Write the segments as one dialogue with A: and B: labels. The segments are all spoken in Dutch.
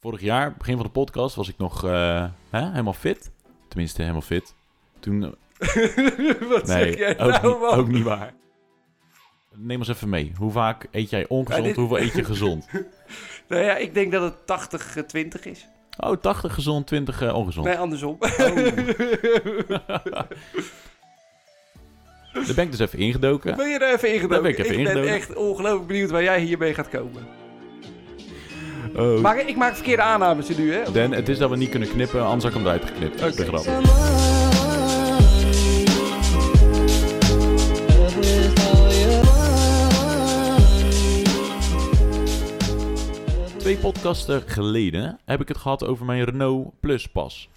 A: Vorig jaar, begin van de podcast, was ik nog eh, hè, helemaal fit. Tenminste, helemaal fit. Toen... eh,
B: Wat
A: Nee,
B: zeg jij
A: ook,
B: nou,
A: niet,
B: man?
A: ook niet waar. Neem ons even mee. Hoe vaak eet jij ongezond?
B: Ja, dit-
A: Hoeveel eet je gezond?
B: Nou ja, ik denk dat het 80-20 is.
A: Oh, 80 gezond, 20 eh, ongezond.
B: Nee, andersom.
A: Daar ben ik dus even ingedoken.
B: Ben je er even ingedoken?
A: Daar ben ik even
B: ben
A: ingedoken.
B: echt ongelooflijk benieuwd waar jij hiermee gaat komen.
A: Oh.
B: Maar ik maak verkeerde aannames nu, hè?
A: Dan, het is dat we niet kunnen knippen, anders had ik hem eruit geknipt.
B: Oké.
A: De grap. Twee podcasten geleden heb ik het gehad over mijn Renault Plus pas.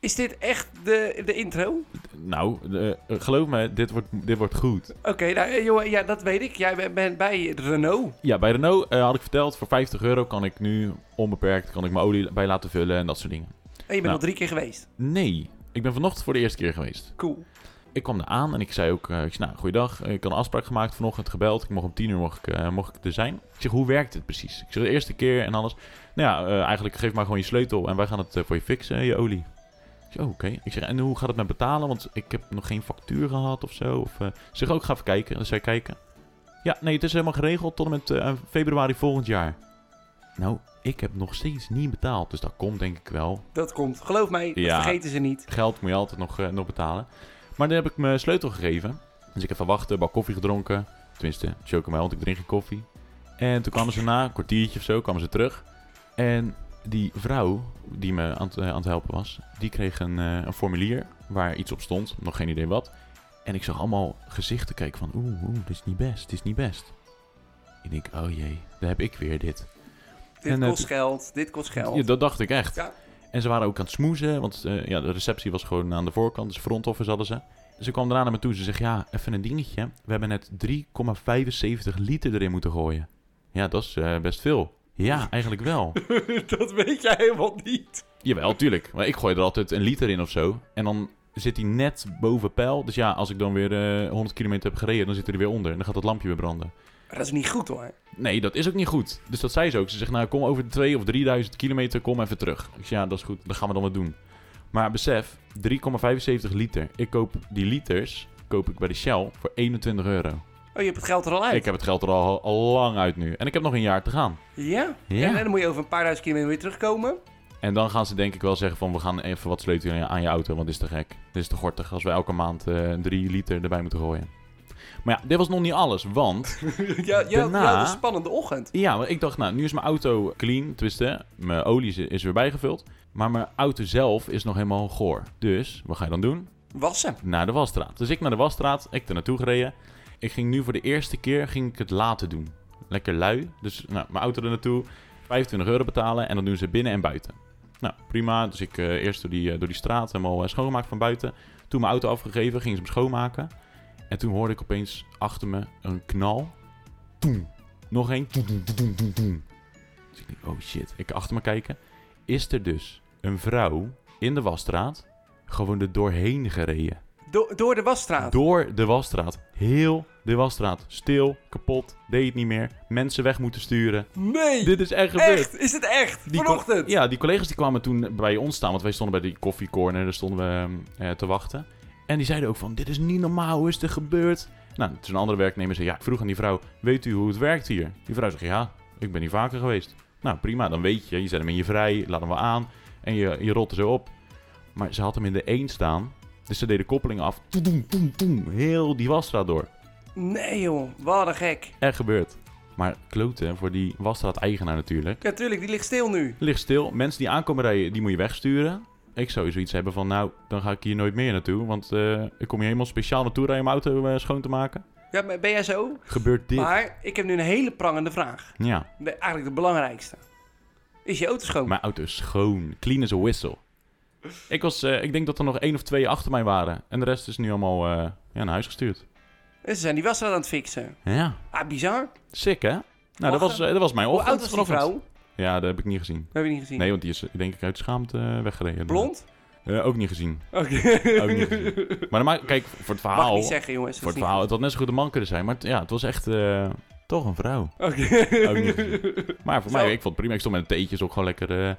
B: Is dit echt de, de intro?
A: Nou, eh, geloof me, dit wordt, dit wordt goed.
B: Oké, nou eh, jongen, ja, dat weet ik. Jij bent- bent bij Renault.
A: Ja, bij Renault eh, had ik verteld, voor 50 euro kan ik nu onbeperkt kan ik mijn olie bij laten vullen en dat soort dingen.
B: En je bent
A: Nou.
B: al drie keer geweest.
A: Nee, ik ben vanochtend voor de eerste keer geweest.
B: Cool.
A: Ik kwam er aan en ik zei ook, eh, ik zei, nou, goeiedag. Eh, Ik had een afspraak gemaakt vanochtend, gebeld. Ik mocht om tien uur mocht ik, eh, mocht ik er zijn. Ik zeg, hoe werkt het precies? Ik zeg, de eerste keer en alles. Nou ja, eh, eigenlijk geef maar gewoon je sleutel en wij gaan het eh, voor je fixen, je olie. Ik zeg, oh, oké. Ik zeg, en hoe gaat het met betalen? Want ik heb nog geen factuur gehad of zo. Of, eh, ik zeg, ook ga even kijken. Dus zij kijken. Ja, nee, het is helemaal geregeld tot en met eh, februari volgend jaar. Nou, ik heb nog steeds niet betaald. Dus dat komt denk ik wel
B: Dat komt. Geloof mij, dat
A: Ja.
B: vergeten ze niet.
A: geld moet je altijd nog, eh, nog betalen. Maar dan heb ik mijn sleutel gegeven. Dus ik even wachten, bak koffie gedronken. Tenminste, chocomel, want ik drink geen koffie. En toen kwamen ze na, een kwartiertje of zo, kwamen ze terug. En die vrouw die me aan het, eh, aan het helpen was, die kreeg een, eh, een formulier waar iets op stond. Nog geen idee wat. En ik zag allemaal gezichten kijken van, oeh, oeh, dit is niet best, dit is niet best. Ik denk, oh jee, daar heb ik weer dit.
B: Dit
A: En, eh,
B: kost geld, dit kost geld.
A: Ja, dat dacht ik echt.
B: Ja.
A: En ze waren ook aan het smoezen, want eh, ja, de receptie was gewoon aan de voorkant, dus front office hadden ze. Ze kwam daarna naar me toe, ze zegt, ja, even een dingetje. We hebben net 3,75 liter erin moeten gooien. Ja, dat is eh, best veel. Ja, eigenlijk wel.
B: dat weet jij helemaal niet.
A: Jawel, tuurlijk. Maar ik gooi er altijd een liter in of zo. En dan zit hij net boven peil. Dus ja, als ik dan weer eh, 100 kilometer heb gereden, dan zit hij er weer onder. En dan gaat dat lampje weer branden.
B: Maar dat is niet goed hoor.
A: Nee, dat is ook niet goed. Dus dat zei ze ook. Ze zegt, nou, kom over de 2 of 3000 kilometer, kom even terug. Ik zei, ja, dat is goed. Dat gaan we dan wat doen. Maar besef, 3,75 liter. Ik koop die liters, koop ik bij de Shell voor 21 euro.
B: Oh, je hebt het geld er al uit.
A: Ik heb het geld er al, al lang uit nu. En ik heb nog een jaar te gaan.
B: Ja?
A: Ja.
B: En, en dan moet je over een paar duizend kilometer weer terugkomen.
A: En dan gaan ze denk ik wel zeggen van, we gaan even wat sleutelen aan je auto, want dit is te gek. Dit is te gortig als we elke maand eh 3 liter erbij moeten gooien. Maar ja, dit was nog niet alles, want
B: ja, ja,
A: Daarna-
B: ja, een spannende ochtend.
A: Ja, maar ik dacht, nou, nu is mijn auto clean. Tenminste, mijn olie is, is weer bijgevuld. Maar mijn auto zelf is nog helemaal goor. Dus, wat ga je dan doen?
B: Wassen.
A: Naar de wasstraat. Dus ik naar de wasstraat, ik er naartoe gereden. Ik ging nu voor de eerste keer ging ik het laten doen. Lekker lui. Dus nou, mijn auto er naartoe, 25 euro betalen en dan doen ze binnen en buiten. Nou, prima. Dus ik eh, eerst door die, eh, door die straat helemaal eh, schoongemaakt van buiten. Toen mijn auto afgegeven, gingen ze hem schoonmaken. En toen hoorde ik opeens achter me een knal. Toen. Nog één. Toen, toen, toen, toen, toen, toen. Dus ik denk, oh shit. Ik achter me kijken. Is er dus een vrouw in de wasstraat gewoon er doorheen gereden?
B: Do- door de wasstraat.
A: Door de wasstraat. Heel de wasstraat. Stil, kapot, deed het niet meer. Mensen weg moeten sturen.
B: nee!
A: Dit is echt gebeurd.
B: echt! Is het echt?
A: Die
B: Vanochtend?
A: co- Ja, die collega's die kwamen toen bij ons staan, want wij stonden bij die koffiecorner, daar stonden we ehm, eh, te wachten. En die zeiden ook van, dit is niet normaal, hoe is dit gebeurd? Nou, toen een andere werknemer zei, ja, ik vroeg aan die vrouw, weet u hoe het werkt hier? Die vrouw zegt, ja, ik ben hier vaker geweest. Nou, prima, dan weet je, je zet hem in je vrij, laat hem wel aan en je, je rolt er zo op. Maar ze had hem in de 1 staan, dus ze deed de koppeling af, toedoem, toem, toem, heel die wasstraat door.
B: Nee joh, wat een gek.
A: Echt gebeurd. Maar kloten voor die wasstraat-eigenaar natuurlijk.
B: Ja, tuurlijk, die ligt stil nu.
A: Ligt stil. Mensen die aankomen rijden, die moet je wegsturen. Ik zou zoiets hebben van, nou, dan ga ik hier nooit meer naartoe. Want eh, ik kom hier helemaal speciaal naartoe rijden om mijn auto eh, schoon te maken.
B: Ja, maar ben jij zo?
A: Gebeurt dit?
B: Maar ik heb nu een hele prangende vraag.
A: Ja,
B: De- eigenlijk de belangrijkste. Is je auto schoon?
A: mijn auto is schoon. Clean as a whistle. Ik, was, eh, ik denk dat er nog één of twee achter mij waren. En de rest is nu allemaal eh, ja, naar huis gestuurd.
B: En Ze zijn die wasstraat aan het fixen.
A: Ja,
B: Ah, bizar.
A: sick hè? Nou, dat was, eh, dat was mijn
B: Hoe
A: ochtend.
B: oud was die
A: vanochtend.
B: vrouw?
A: Ja, dat heb ik niet gezien.
B: Dat heb je niet gezien.
A: Nee, want die is denk ik uit schaamte eh, weggereden.
B: Blond?
A: Eh, ook niet gezien.
B: Oké.
A: Ook niet gezien. Maar dan maakt- kijk, voor het
B: Mag ik
A: verhaal...
B: niet zeggen, jongens.
A: Voor
B: dat
A: het
B: is niet
A: verhaal, het had net zo goed een man kunnen zijn, maar het- ja, het was echt eh, toch een vrouw.
B: goed. Oké.
A: Ook niet gezien. maar voor
B: Zo.
A: mij, ik vond het prima. Ik stond met een theetje, is ook gewoon lekker eh,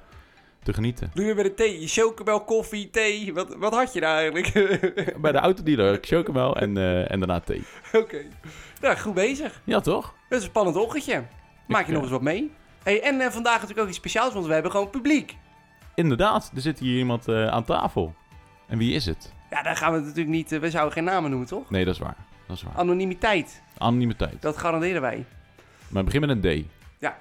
A: te genieten.
B: Doe je met een thee? Chocomel, koffie, thee? Wat, wat had je nou eigenlijk? Oké.
A: Bij de autodealer chocomel en, eh, en daarna thee.
B: Nou, goed bezig.
A: Ja, toch?
B: Dat is een spannend ochtendje. Maak je
A: eh,
B: nog eens wat mee. Hey, en eh, vandaag natuurlijk ook iets speciaals, want we hebben gewoon publiek.
A: Inderdaad, er zit hier iemand eh, aan tafel. En wie is het?
B: Ja, daar gaan we natuurlijk niet... eh, we zouden geen namen noemen, toch?
A: Nee, dat is waar. Dat is waar.
B: Anonimiteit,
A: Anonimiteit.
B: dat garanderen wij.
A: Maar begin met een D.
B: Ja.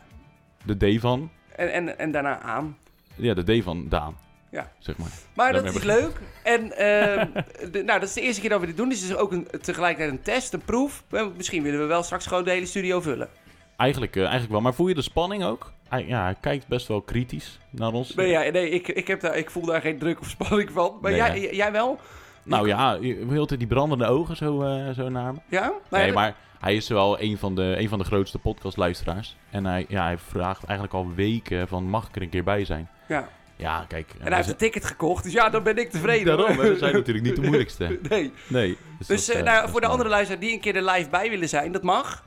A: De D van...
B: En, en, en daarna aan.
A: Ja, de D van Daan.
B: Ja.
A: Zeg maar.
B: Maar dat
A: Daarmee
B: is
A: begint
B: leuk. En ehm, de- nou, dat is de eerste keer dat we dit doen. Dus het is ook een, tegelijkertijd een test, een proef. Eh, Misschien willen we wel straks gewoon de hele studio vullen.
A: Eigenlijk, eh, eigenlijk wel. Maar voel je de spanning ook? Hij, ja, hij kijkt best wel kritisch naar ons.
B: Nee, ja, nee ik, ik, heb daar, ik voel daar geen druk of spanning van. Maar
A: Nee,
B: jij, j- jij wel?
A: Nou ja, je- heel de tijd die brandende ogen zo, eh, zo naar hem.
B: Ja? Nou ja,
A: Nee,
B: dat-
A: maar hij is wel een van de, een van de grootste podcastluisteraars. En hij, ja, hij vraagt eigenlijk al weken van, mag ik er een keer bij zijn?
B: Ja.
A: Ja, kijk.
B: En hij heeft een ticket gekocht, dus ja, dan ben ik tevreden.
A: Daarom,
B: hoor.
A: hè, we zijn natuurlijk niet de moeilijkste.
B: Nee.
A: Nee.
B: Dus
A: dat,
B: eh,
A: eh,
B: nou,
A: dat
B: voor de
A: is
B: andere luisteraar die een keer er live bij willen zijn, dat mag.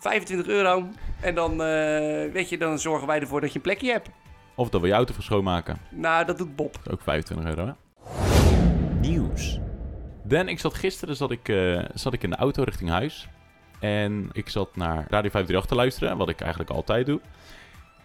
B: 25 euro. En dan, eh, weet je, dan zorgen wij ervoor dat je een plekje hebt.
A: mooi. Of dat we je auto voor schoonmaken.
B: Nou, dat doet Bob.
A: Dat is ook 25 euro, hè? Nieuws. Dan, ik zat gisteren zat ik, eh, zat ik in de auto richting huis. En ik zat naar Radio 538 te luisteren, wat ik eigenlijk altijd doe.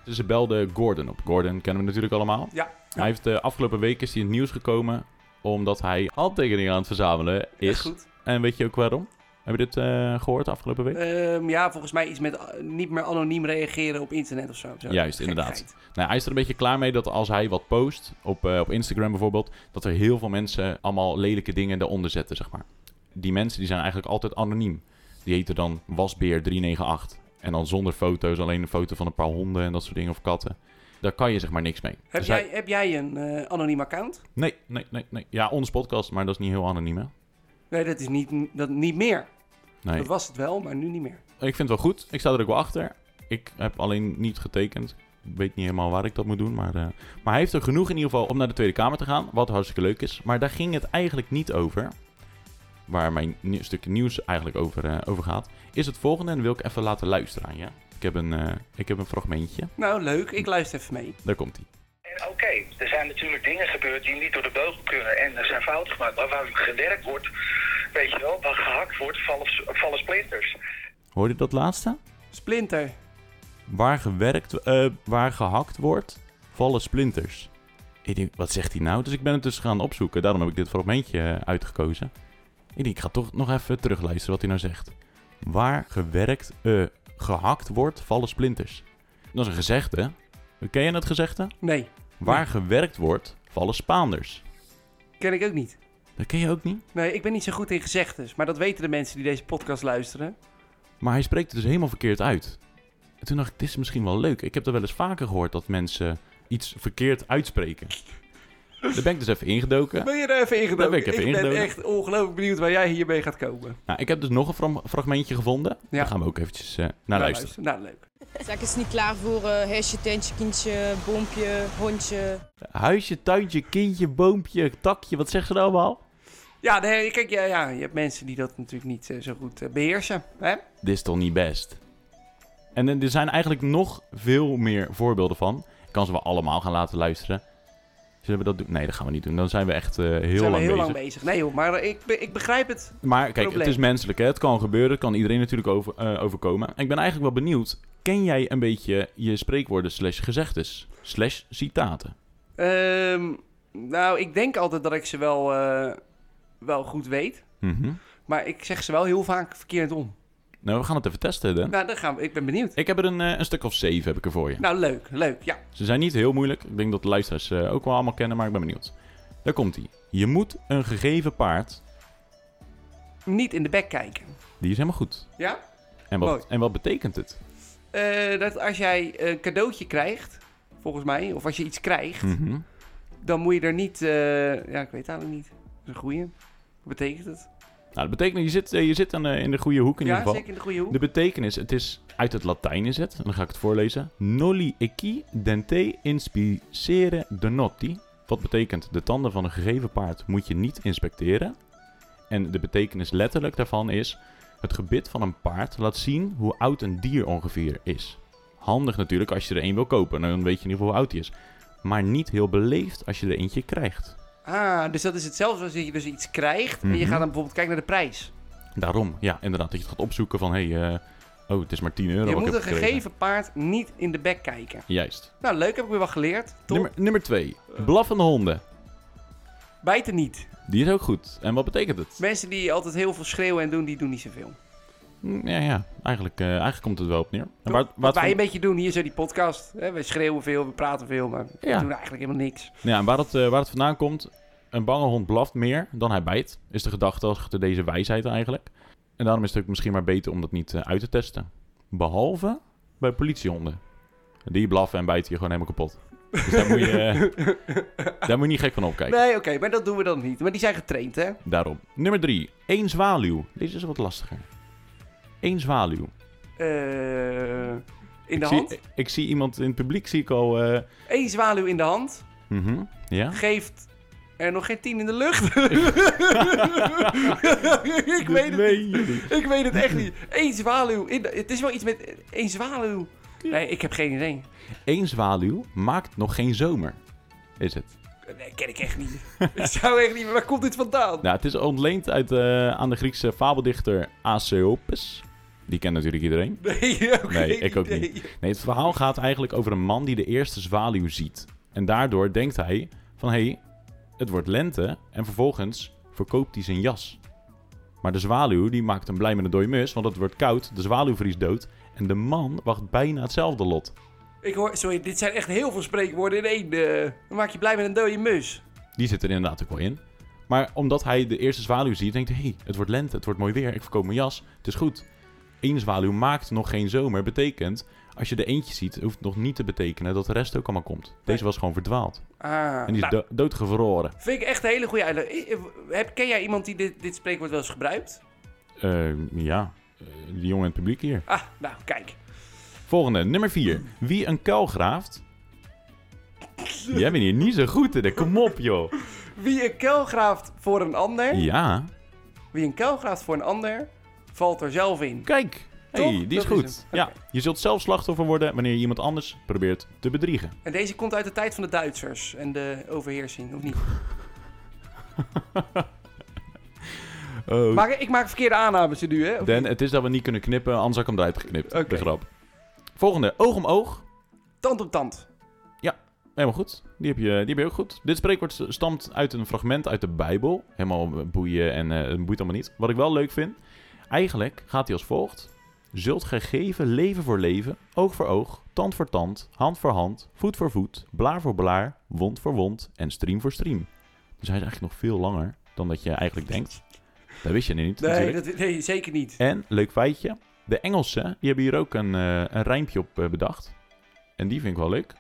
A: Dus ze belde Gordon op. Gordon kennen we natuurlijk allemaal.
B: Ja.
A: Hij heeft de afgelopen week is hij in het nieuws gekomen omdat hij handtekeningen aan het verzamelen
B: Is
A: is.
B: goed.
A: En weet je ook waarom? Heb je dit eh, gehoord de afgelopen week?
B: Ehm, ja, volgens mij iets met eh, niet meer anoniem reageren op internet of zo. Zo,
A: Juist,
B: gekkigheid.
A: inderdaad. Nou, hij is er een beetje klaar mee dat als hij wat post, op, eh, op Instagram bijvoorbeeld, dat er heel veel mensen allemaal lelijke dingen eronder zetten, zeg maar. Die mensen die zijn eigenlijk altijd anoniem. Die heten dan wasbeer398. En dan zonder foto's, alleen een foto van een paar honden en dat soort dingen of katten. Daar kan je zeg maar niks mee.
B: Heb,
A: Dus hij-
B: jij, heb jij een eh, anoniem account?
A: Nee, nee, nee, nee. Ja, onze podcast, maar dat is niet heel anoniem, hè?
B: Nee, dat is niet, dat, niet meer.
A: Nee.
B: Dat was het wel, maar nu niet meer.
A: Ik vind het wel goed. Ik sta er ook wel achter. Ik heb alleen niet getekend. Ik weet niet helemaal waar ik dat moet doen. Maar, eh, maar hij heeft er genoeg in ieder geval om naar de Tweede Kamer te gaan. Wat hartstikke leuk is. Maar daar ging het eigenlijk niet over. Waar mijn nieuw, stukje nieuws eigenlijk over, eh, over gaat. Is het volgende. En dat wil ik even laten luisteren aan je. Ik heb een, eh, ik heb een fragmentje.
B: Nou, leuk. Ik luister even mee.
A: Daar komt hij.
C: En Oké, er zijn natuurlijk dingen gebeurd die niet door de beugel kunnen en er zijn fouten gemaakt. Maar waar gewerkt wordt, weet je wel, waar gehakt wordt, vallen, vallen splinters.
A: Hoorde je dat laatste?
B: Splinter.
A: Waar gewerkt, eh, waar gehakt wordt, vallen splinters. Ik denk, wat zegt hij nou? Dus ik ben het dus gaan opzoeken. Daarom heb ik dit fragmentje eh, uitgekozen. Ik denk, ik ga toch nog even terugluisteren wat hij nou zegt. Waar gewerkt, eh, gehakt wordt, vallen splinters. Dat is een gezegde. Ken je dat gezegde?
B: Nee,
A: Waar gewerkt wordt, vallen spaanders.
B: ken ik ook niet.
A: Dat ken je ook niet.
B: Nee, ik ben niet zo goed in gezegdes. Maar dat weten de mensen die deze podcast luisteren.
A: Maar hij spreekt het dus helemaal verkeerd uit. En toen dacht ik, dit is misschien wel leuk. Ik heb er wel eens vaker gehoord dat mensen iets verkeerd uitspreken. Daar ben ik dus even ingedoken.
B: Ben je er even ingedoken?
A: Daar ben ik even
B: ben
A: ingedoken.
B: echt ongelooflijk benieuwd waar jij hiermee gaat komen.
A: Nou, ik heb dus nog een fra- fragmentje gevonden. Daar gaan we ook eventjes eh, naar luisteren.
B: Nou, leuk.
D: Zaak is niet klaar voor eh, hesje, tentje, kindje, bompje, hondje.
A: Huisje, tuintje, kindje, boompje, takje, wat zeggen ze nou allemaal?
B: Ja, nee, kijk, ja, ja, je hebt mensen die dat natuurlijk niet eh, zo goed eh, beheersen. Hè?
A: Dit is toch niet best? En eh, er zijn eigenlijk nog veel meer voorbeelden van. Ik kan ze wel allemaal gaan laten luisteren. Zullen we dat doen? Nee, dat gaan we niet doen. Dan zijn we echt eh, heel,
B: zijn
A: lang,
B: we heel
A: bezig.
B: lang bezig. Nee joh, maar eh, ik, be- ik begrijp het.
A: Maar kijk,
B: Probleem.
A: het is menselijk, hè? het kan gebeuren, het kan iedereen natuurlijk over, eh, overkomen. En ik ben eigenlijk wel benieuwd, ken jij een beetje je spreekwoorden slash gezegdes slash citaten?
B: Ehm, nou, ik denk altijd dat ik ze wel, eh, wel goed weet.
A: Mhm.
B: Maar ik zeg ze wel heel vaak verkeerd om.
A: Nou, we gaan het even testen, Dan.
B: Nou, dan gaan we, ik ben benieuwd.
A: Ik heb er een, eh, een stuk of zeven heb ik er voor je.
B: Nou, leuk, leuk. Ja,
A: Ze zijn niet heel moeilijk. Ik denk dat de luisteraars ze ook wel allemaal kennen, maar ik ben benieuwd. Daar komt hij. Je moet een gegeven paard.
B: niet in de bek kijken.
A: Die is helemaal goed.
B: Ja?
A: En
B: Mooi.
A: wat, en wat betekent het?
B: Eh, dat als jij een cadeautje krijgt, volgens mij, of als je iets krijgt,
A: Mhm.
B: dan moet je er niet... eh, ja, ik weet het eigenlijk niet. Dat is een goeie. Wat betekent het?
A: Nou, dat betekent dat je zit, eh, je zit aan, eh, in de goede hoek in
B: ja,
A: ieder geval.
B: zeker in de goede hoek.
A: De betekenis, het is uit het Latijn is het, en dan ga ik het voorlezen. Noli equi dente inspicere donoti. Wat betekent de tanden van een gegeven paard moet je niet inspecteren. En de betekenis letterlijk daarvan is, het gebit van een paard laat zien hoe oud een dier ongeveer is. Handig natuurlijk als je er één wil kopen, dan weet je in ieder geval hoe oud hij is. maar niet heel beleefd als je er eentje krijgt.
B: Ah, dus dat is hetzelfde als dat je dus iets krijgt en je
A: Mhm.
B: gaat dan bijvoorbeeld kijken naar de prijs.
A: Daarom, ja, inderdaad. Dat je het gaat opzoeken van, hé, hey, eh, oh, het is maar 10 euro.
B: Je
A: wat ik
B: moet een
A: heb gekregen.
B: gegeven paard niet in de bek kijken.
A: Juist.
B: Nou, leuk, heb ik weer wat geleerd. Top.
A: Nummer, nummer twee. Blaffende honden.
B: Bijten niet.
A: Die is ook goed. En wat betekent het?
B: Mensen die altijd heel veel schreeuwen en doen, die doen niet zoveel.
A: Mm, Ja, ja. Eigenlijk, eh, eigenlijk komt het wel op neer. En waar-
B: Wat,
A: waar het
B: wij
A: van-
B: een beetje doen, hier zo die podcast. Hè? Wij schreeuwen veel, we praten veel, maar
A: Ja.
B: we doen eigenlijk helemaal niks.
A: Ja, en waar het, eh, waar het vandaan komt, een bange hond blaft meer dan hij bijt, is de gedachte achter deze wijsheid eigenlijk. En daarom is het ook misschien maar beter om dat niet eh, uit te testen. Behalve bij politiehonden. Die blaffen en bijten je gewoon helemaal kapot. Dus daar moet je, eh, daar moet je niet gek van opkijken.
B: Nee, oké, maar dat doen we dan niet. Maar die zijn getraind, hè?
A: Daarom. Nummer 3. Eén zwaluw. Deze is wat lastiger. Eén zwaluw.
B: Eh, in de
A: ik,
B: hand.
A: Zie, ik zie iemand in het publiek, zie ik al... eh,
B: Eén zwaluw in de hand
A: mhm, ja?
B: geeft er nog geen tien in de lucht. ik weet het
A: Nee,
B: niet.
A: jullie.
B: Ik weet het echt niet. Eén zwaluw. In de- het is wel iets met één zwaluw. Nee, ik heb geen idee.
A: Eén zwaluw maakt nog geen zomer. Is het.
B: Nee, ken ik echt niet. ik zou echt niet. Waar komt dit vandaan?
A: Nou, het is ontleend uit, eh, aan de Griekse fabeldichter Aesopus. Die kent natuurlijk iedereen.
B: Nee, oké,
A: Nee, ik ook
B: nee.
A: niet. Nee, het verhaal gaat eigenlijk over een man die de eerste zwaluw ziet. En daardoor denkt hij van, hé, hey, het wordt lente. En vervolgens verkoopt hij zijn jas. Maar de zwaluw, die maakt hem blij met een dode mus, want het wordt koud. De zwaluw vriest dood. En de man wacht bijna hetzelfde lot.
B: Ik hoor, sorry, dit zijn echt heel veel spreekwoorden in één. eh. dan maak je blij met een dode mus.
A: Die zit er inderdaad ook wel in. Maar omdat hij de eerste zwaluw ziet, denkt hij: hey, het wordt lente, het wordt mooi weer, ik verkoop mijn jas, het is goed. Eén zwaluw maakt nog geen zomer. Betekent, als je er eentje ziet, hoeft het nog niet te betekenen dat de rest ook allemaal komt. Deze was gewoon verdwaald.
B: Ah,
A: En die is
B: nou,
A: do- doodgevroren.
B: vind ik echt een hele goede uitleg. Eh, eh, heb- Ken jij iemand die dit, dit spreekwoord wel eens gebruikt?
A: Eh, ja, Eh, die jongen in het publiek hier.
B: Ah, nou, kijk.
A: Volgende, nummer 4. Wie een kuil graaft. Jij bent hier niet zo goed in, hè? kom op joh.
B: Wie een kuil graaft voor een ander,
A: Ja,
B: wie een kuil graaft voor een ander, valt er zelf in.
A: kijk.
B: Toch?
A: hey, die is
B: Dat is
A: goed.
B: hem.
A: ja, je zult zelf slachtoffer worden wanneer je iemand anders probeert te bedriegen.
B: En deze komt uit de tijd van de Duitsers en de overheersing, of niet?
A: Oh.
B: Maar ik maak verkeerde aannames nu, hè? Of
A: Dan,
B: niet?
A: het is dat we niet kunnen knippen, anders had ik hem eruit geknipt.
B: Oké.
A: De grap. Volgende, oog om oog.
B: Tand op tand.
A: Helemaal goed. Die heb, je, die heb je ook goed. Dit spreekwoord stamt uit een fragment uit de Bijbel. Helemaal eh, boeien en eh, het boeit allemaal niet. Wat ik wel leuk vind, eigenlijk gaat hij als volgt. Zult gij geven leven voor leven, oog voor oog, tand voor tand, hand voor hand, voet voor voet, blaar voor blaar, wond voor wond en stream voor stream. Dus hij is eigenlijk nog veel langer dan dat je eigenlijk denkt. Dat wist je niet
B: Nee,
A: natuurlijk.
B: dat, nee zeker niet.
A: En, leuk feitje, de Engelsen die hebben hier ook een, eh, een rijmpje op eh, bedacht. En die vind ik wel leuk.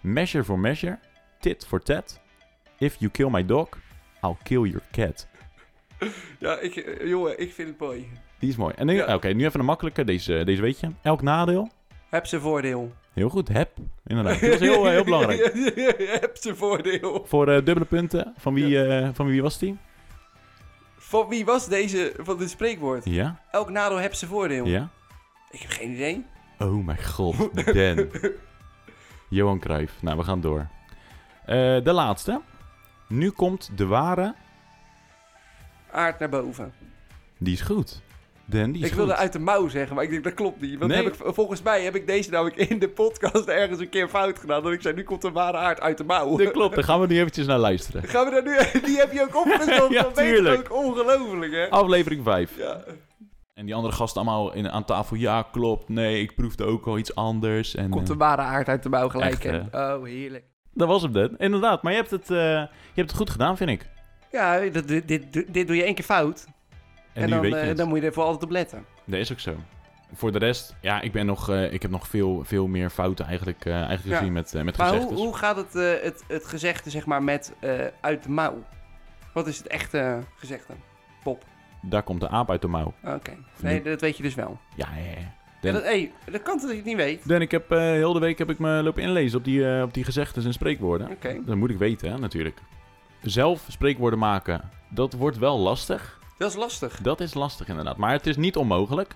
A: Measure for measure, tit for tat. If you kill my dog, I'll kill your cat.
B: Ja, ik, eh, jongen, ik vind het mooi.
A: Die is mooi. En nu,
B: Ja.
A: oké, nu even een makkelijke, deze, eh, deze weet je. Elk nadeel,
B: Heb zijn voordeel.
A: heel goed, heb. Inderdaad, dat is heel, eh, heel belangrijk.
B: Heb zijn voordeel.
A: Voor eh, dubbele punten, van wie, eh, van wie was die?
B: Van wie was deze, van dit spreekwoord?
A: Ja,
B: Elk nadeel heb zijn voordeel.
A: ja.
B: Ik heb geen idee.
A: Oh mijn god, Dan. Johan Cruijff. Nou, we gaan door. Eh, de laatste. Nu komt de ware
B: Aard naar boven.
A: Die is goed. Dan, die is
B: Ik wilde
A: goed.
B: uit de mouw zeggen, maar ik denk dat klopt niet. Want
A: Nee.
B: heb ik, volgens mij heb ik deze namelijk in de podcast ergens een keer fout gedaan. Dat ik zei, nu komt de ware aard uit de mouw.
A: Dat klopt, daar gaan we nu eventjes naar luisteren.
B: Gaan we daar nu... Die heb je ook opgezocht.
A: Ja,
B: dat weet ik
A: tuurlijk.
B: ook. Ongelooflijk, hè?
A: Aflevering 5.
B: Ja.
A: En die andere gasten allemaal in, aan tafel. Ja, klopt. Nee, ik proefde ook al iets anders. En,
B: Komt de
A: eh,
B: ware aard uit de mouw gelijk,
A: Echt,
B: hè? Oh, heerlijk.
A: dat was hem, Dan. Inderdaad, maar je hebt, het, eh, je hebt het goed gedaan, vind ik.
B: Ja, dit, dit, dit, dit doe je één keer fout.
A: En, nu
B: dan,
A: weet je
B: eh,
A: het.
B: dan moet je er voor altijd op letten.
A: Dat is ook zo. Voor de rest, ja, ik, ben nog, eh, ik heb nog veel, veel meer fouten eigenlijk, eh, eigenlijk
B: Ja.
A: gezien met, eh, met
B: Maar hoe,
A: gezegdes.
B: hoe gaat het, eh, het, het gezegde, zeg maar, met eh, uit de mouw? Wat is het echte eh, gezegde?
A: Daar komt de aap uit de mouw.
B: Oké. Nee, dat weet je dus wel.
A: Ja, ja, ja.
B: Ja,
A: Dan-
B: dat, hey, dat kan toch dat je het niet weet?
A: Dan, ik heb, eh, heel de week heb ik me lopen inlezen op die, eh, op die gezegdes en spreekwoorden.
B: Oké.
A: Dat moet ik weten, hè, natuurlijk. Zelf spreekwoorden maken, dat wordt wel lastig.
B: Dat is lastig.
A: Dat is lastig inderdaad. Maar het is niet onmogelijk.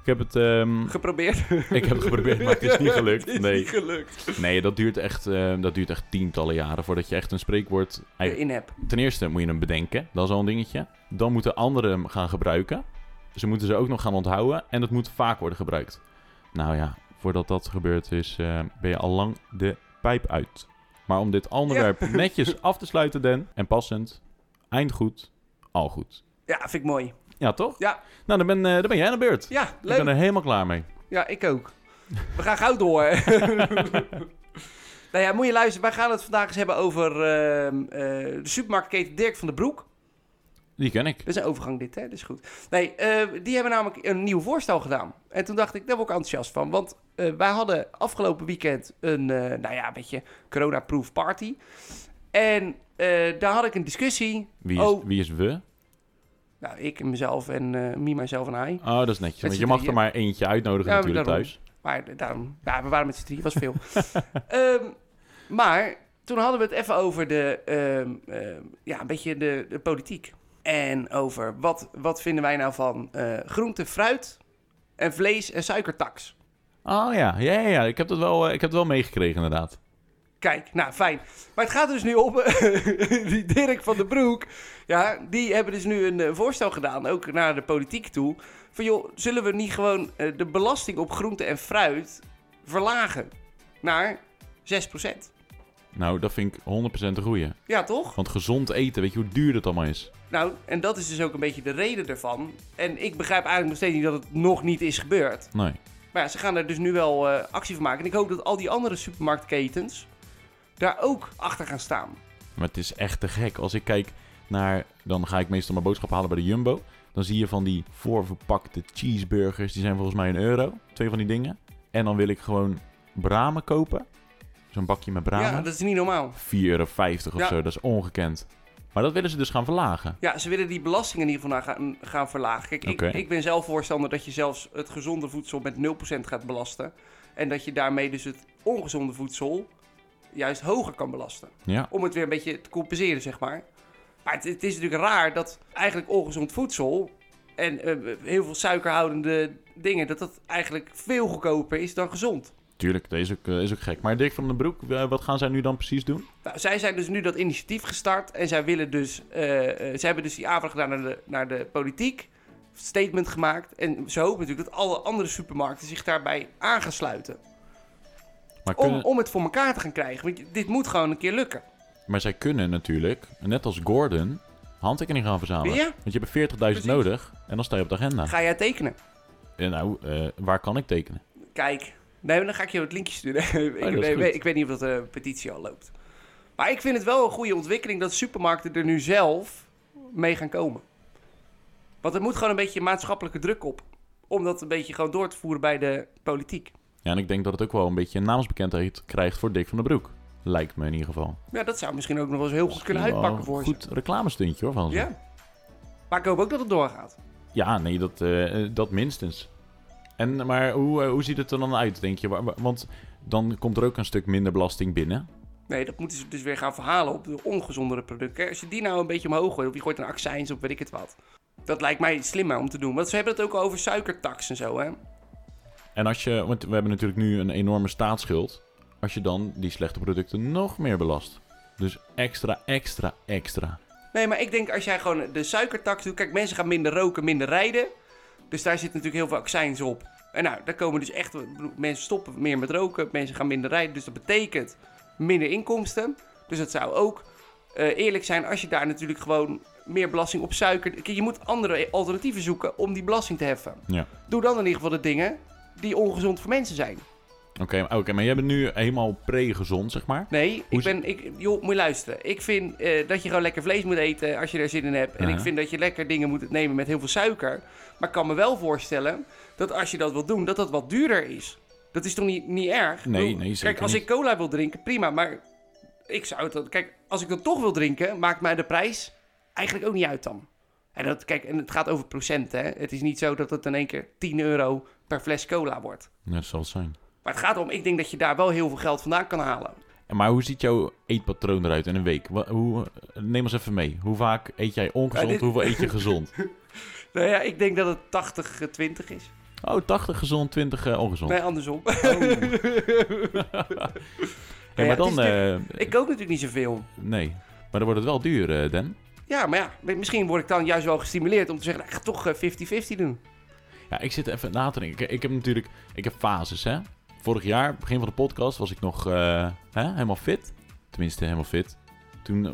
A: Ik heb het, ehm,
B: Geprobeerd.
A: ik heb het geprobeerd, maar het is niet gelukt.
B: Het is
A: Nee,
B: niet gelukt.
A: nee dat, duurt echt, eh, dat duurt echt tientallen jaren voordat je echt een spreekwoord... eigenlijk-
B: In heb.
A: Ten eerste moet je hem bedenken, dat is al een dingetje. Dan moeten anderen hem gaan gebruiken. Ze moeten ze ook nog gaan onthouden en dat moet vaak worden gebruikt. Nou ja, voordat dat gebeurd is, eh, ben je al lang de pijp uit. Maar om dit onderwerp netjes af te sluiten, Den, en passend, eindgoed, al goed.
B: Ja, vind ik mooi.
A: Ja, toch?
B: Ja.
A: Nou, dan ben, eh, dan ben jij aan de beurt.
B: Ja,
A: Ik ben
B: leuk.
A: er helemaal klaar mee.
B: Ja, ik ook. We gaan gauw door. nou ja, moet je luisteren. Wij gaan het vandaag eens hebben over ehm, eh, de supermarktketen Dirk van den Broek.
A: Die ken ik.
B: Dat is een overgang dit, hè? Dat is goed. Nee, eh, die hebben namelijk een nieuw voorstel gedaan. En toen dacht ik, daar word ik enthousiast van. Want eh, wij hadden afgelopen weekend een, eh, nou ja, een beetje corona-proof party. En eh, daar had ik een discussie.
A: Wie is,
B: Oh.
A: wie is we?
B: Nou, ik en mezelf en eh me, mijzelf en hij.
A: Oh, dat is netjes.
B: Met
A: Want
B: z'n
A: je mag er
B: drieën.
A: maar eentje uitnodigen
B: Ja,
A: natuurlijk
B: daarom.
A: thuis.
B: Maar d- daarom, ja, we waren met z'n drie, was veel. Ehm, maar toen hadden we het even over de, ehm, ehm, ja, een beetje de, de politiek. En over wat, wat vinden wij nou van eh, groente, fruit en vlees en suikertax.
A: Oh ja, ja, ja, ja. Ik heb dat wel, eh, ik heb het wel meegekregen inderdaad.
B: Kijk, nou fijn. Maar het gaat er dus nu om. die Dirk van den Broek. Ja, die hebben dus nu een eh, voorstel gedaan. Ook naar de politiek toe. Van joh, zullen we niet gewoon eh, de belasting op groente en fruit verlagen? Naar 6%.
A: Nou, dat vind ik 100% een goeie.
B: Ja, toch?
A: Want gezond eten, weet je hoe duur dat allemaal is?
B: Nou, en dat is dus ook een beetje de reden ervan. En ik begrijp eigenlijk nog steeds niet dat het nog niet is gebeurd.
A: Nee.
B: Maar ja, ze gaan er dus nu wel eh, actie van maken. En ik hoop dat al die andere supermarktketens daar ook achter gaan staan.
A: Maar het is echt te gek. Als ik kijk naar... Dan ga ik meestal mijn boodschap halen bij de Jumbo. Dan zie je van die voorverpakte cheeseburgers. Die zijn volgens mij een euro. Twee van die dingen. En dan wil ik gewoon bramen kopen. Zo'n bakje met bramen.
B: Ja, dat is niet normaal.
A: 4,50 euro of
B: Ja.
A: zo. Dat is ongekend. Maar dat willen ze dus gaan verlagen.
B: Ja, ze willen die belasting in ieder geval naar gaan, gaan verlagen. Kijk,
A: Oké.
B: ik, ik ben zelf voorstander dat je zelfs het gezonde voedsel met 0% gaat belasten. En dat je daarmee dus het ongezonde voedsel juist hoger kan belasten.
A: Ja.
B: Om het weer een beetje te compenseren, zeg maar. Maar het, het is natuurlijk raar dat eigenlijk ongezond voedsel en eh, heel veel suikerhoudende dingen... dat dat eigenlijk veel goedkoper is dan gezond.
A: Tuurlijk, dat is ook, eh, is ook gek. Maar Dirk van den Broek, eh, wat gaan zij nu dan precies doen?
B: Nou, zij zijn dus nu dat initiatief gestart en zij willen dus, eh, eh, zij hebben dus die aanvraag gedaan naar de, naar de politiek, statement gemaakt en ze hopen natuurlijk dat alle andere supermarkten zich daarbij aan gaan sluiten.
A: Maar
B: Om,
A: kunnen-
B: om het voor elkaar te gaan krijgen, want dit moet gewoon een keer lukken.
A: Maar zij kunnen natuurlijk, net als Gordon, handtekening gaan verzamelen.
B: Ja.
A: Want je hebt 40.000 nodig en dan sta je op de agenda.
B: Ga jij tekenen?
A: En nou, eh, waar kan ik tekenen?
B: Kijk, nee, dan ga ik je het linkje sturen. ik,
A: dat is
B: nee,
A: goed.
B: weet- ik weet niet of dat de petitie al loopt. Maar ik vind het wel een goede ontwikkeling dat supermarkten er nu zelf mee gaan komen. Want er moet gewoon een beetje maatschappelijke druk op. Om dat een beetje gewoon door te voeren bij de politiek.
A: Ja, en ik denk dat het ook wel een beetje een naamsbekendheid krijgt voor Dick van den Broek. Lijkt me in ieder geval.
B: Ja, dat zou misschien ook nog wel eens heel goed kunnen
A: Misschien wel
B: uitpakken voor
A: een oh, Goed reclamestuntje hoor van
B: ze.
A: ze.
B: Ja. Maar ik hoop ook dat het doorgaat.
A: Ja, nee, dat, eh, eh, dat minstens. En, maar hoe, eh, hoe ziet het er dan uit, denk je? Wa- wa- Want dan komt er ook een stuk minder belasting binnen.
B: Nee, dat moeten ze dus weer gaan verhalen op de ongezondere producten. Als je die nou een beetje omhoog gooit, of je gooit een accijns op, weet ik het wat. Dat lijkt mij slimmer om te doen. Want ze hebben het ook al over suikertax en zo, hè?
A: En als je, want we hebben natuurlijk nu een enorme staatsschuld. Als je dan die slechte producten nog meer belast. Dus extra, extra, extra.
B: Nee, maar ik denk als jij gewoon de suikertax doet... Kijk, mensen gaan minder roken, minder rijden. Dus daar zit natuurlijk heel veel accijns op. En nou, daar komen dus echt... ik bedoel, Mensen stoppen meer met roken, mensen gaan minder rijden. Dus dat betekent minder inkomsten. Dus dat zou ook eh, eerlijk zijn als je daar natuurlijk gewoon meer belasting op suiker... Kijk, je moet andere alternatieven zoeken om die belasting te heffen.
A: Ja.
B: Doe dan in ieder geval de dingen die ongezond voor mensen zijn.
A: Oké, maar- oké, maar jij bent nu helemaal pre-gezond, zeg maar.
B: Nee,
A: Hoe
B: ik
A: is-
B: ben, ik, joh, moet je luisteren. Ik vind eh, dat je gewoon lekker vlees moet eten als je er zin in hebt. En
A: Ja.
B: ik vind dat je lekker dingen moet nemen met heel veel suiker. Maar ik kan me wel voorstellen dat als je dat wilt doen, dat dat wat duurder is. Dat is toch niet, niet erg?
A: Nee,
B: Ik bedoel,
A: nee,
B: Kijk,
A: zeker
B: als
A: niet.
B: ik cola wil drinken, prima. Maar ik zou het... dan- Kijk, als ik dat toch wil drinken, maakt mij de prijs eigenlijk ook niet uit dan. En, dat, kijk, en het gaat over procenten, hè. Het is niet zo dat het in één keer 10 euro per fles cola wordt.
A: Ja, dat zal het zijn.
B: Maar het gaat erom, ik denk dat je daar wel heel veel geld vandaan kan halen.
A: En Maar hoe ziet jouw eetpatroon eruit in een week? Wa- hoe, neem ons even mee. Hoe vaak eet jij ongezond?
B: Ja, dit-
A: Hoeveel eet je gezond?
B: Nou ja, ik denk dat het 80-20 is.
A: Oh, 80 gezond, 20 eh, ongezond.
B: Nee, andersom.
A: Hey, maar
B: Ja, het
A: dan...
B: is
A: eh,
B: ik kook natuurlijk niet zoveel.
A: Nee. Maar dan wordt het wel duur, eh, Dan.
B: Ja, maar ja, misschien word ik dan juist wel gestimuleerd om te zeggen, nou, ik ga toch eh, 50-50 doen.
A: Ja, ik zit even na te denken. Ik, ik heb natuurlijk... Ik heb fases, hè. Vorig jaar, begin van de podcast, was ik nog eh, hè, helemaal fit. Tenminste, helemaal fit. Toen... eh,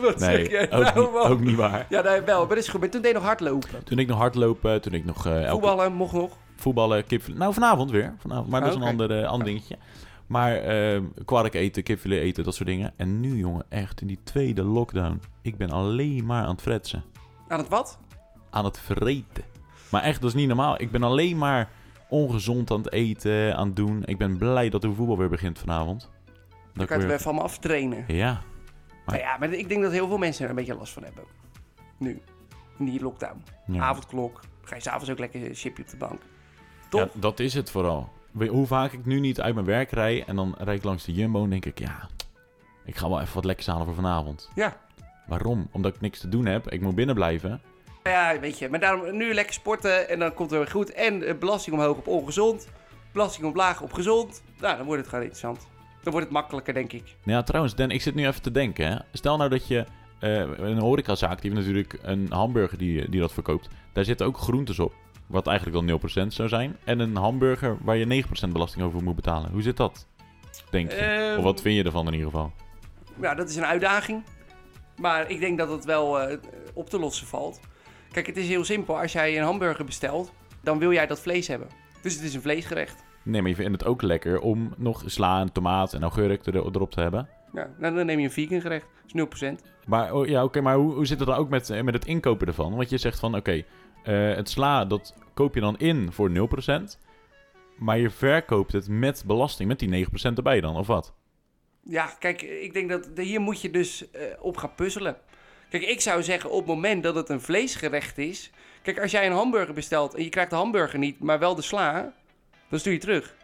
B: Wat
A: nee,
B: zeg jij
A: ook,
B: nou,
A: niet,
B: man?
A: ook niet waar.
B: Ja, nee, wel, maar dat is goed. Maar toen deed ik nog hardlopen.
A: Toen ik nog hardlopen, toen ik nog eh, elke
B: Voetballen mocht nog.
A: voetballen, kipfilet. Nou, vanavond weer. Vanavond, maar dat
B: Oh,
A: is
B: oké.
A: een ander, eh, ander dingetje. Maar eh kwark eten, kipfilet eten, dat soort dingen. En nu, jongen, echt in die tweede lockdown. Ik ben alleen maar aan het fretsen.
B: Aan het wat?
A: Aan het vreten. Maar echt, dat is niet normaal. Ik ben alleen maar ongezond aan het eten, aan het doen. Ik ben blij dat de voetbal weer begint vanavond.
B: Dan
A: Dat
B: kan
A: ik
B: je het
A: weer...
B: weer van me aftrainen.
A: Ja, Maar-
B: Maar ja, maar ik denk dat heel veel mensen er een beetje last van hebben. Nu. In die lockdown.
A: ja.
B: Avondklok. Ga je s'avonds ook lekker een chipje op de bank.
A: Ja,
B: Toch?
A: dat is het vooral. Weet je Hoe vaak ik nu niet uit mijn werk rijd en dan rijd ik langs de Jumbo en denk ik, ja, ik ga wel even wat lekkers halen voor vanavond.
B: Ja.
A: Waarom? Omdat ik niks te doen heb. Ik moet binnen blijven.
B: Ja, weet je. Maar daarom nu lekker sporten en dan komt het weer goed. En eh, belasting omhoog op ongezond. Belasting omlaag op gezond. Nou, dan wordt het gewoon interessant. Dan wordt het makkelijker, denk ik.
A: Nou ja, trouwens, Dan, ik zit nu even te denken. Hè. Stel nou dat je eh, een horecazaak, die heeft natuurlijk een hamburger die, die dat verkoopt. Daar zitten ook groentes op, wat eigenlijk dan 0% zou zijn. En een hamburger waar je 9% belasting over moet betalen. Hoe zit dat? Denk je?
B: Ehm.
A: Of wat vind je ervan in ieder geval?
B: Ja, dat is een uitdaging. Maar ik denk dat het wel eh, op te lossen valt. Kijk, het is heel simpel. Als jij een hamburger bestelt, dan wil jij dat vlees hebben. Dus het is een vleesgerecht.
A: Nee, maar je vindt het ook lekker om nog sla en tomaat en augurk er, erop te hebben.
B: Ja, nou, dan neem je een vegan gerecht. Dat is 0%.
A: Maar, oh, ja, oké, maar hoe, hoe zit het dan ook met, eh, met het inkopen ervan? Want je zegt van, oké, eh, het sla, dat koop je dan in voor 0%. Maar je verkoopt het met belasting, met die 9% erbij dan, of wat?
B: Ja, kijk, ik denk dat de- hier moet je dus eh, op gaan puzzelen. Kijk, ik zou zeggen op het moment dat het een vleesgerecht is. Kijk, als jij een hamburger bestelt en je krijgt de hamburger niet, maar wel de sla, dan stuur je terug.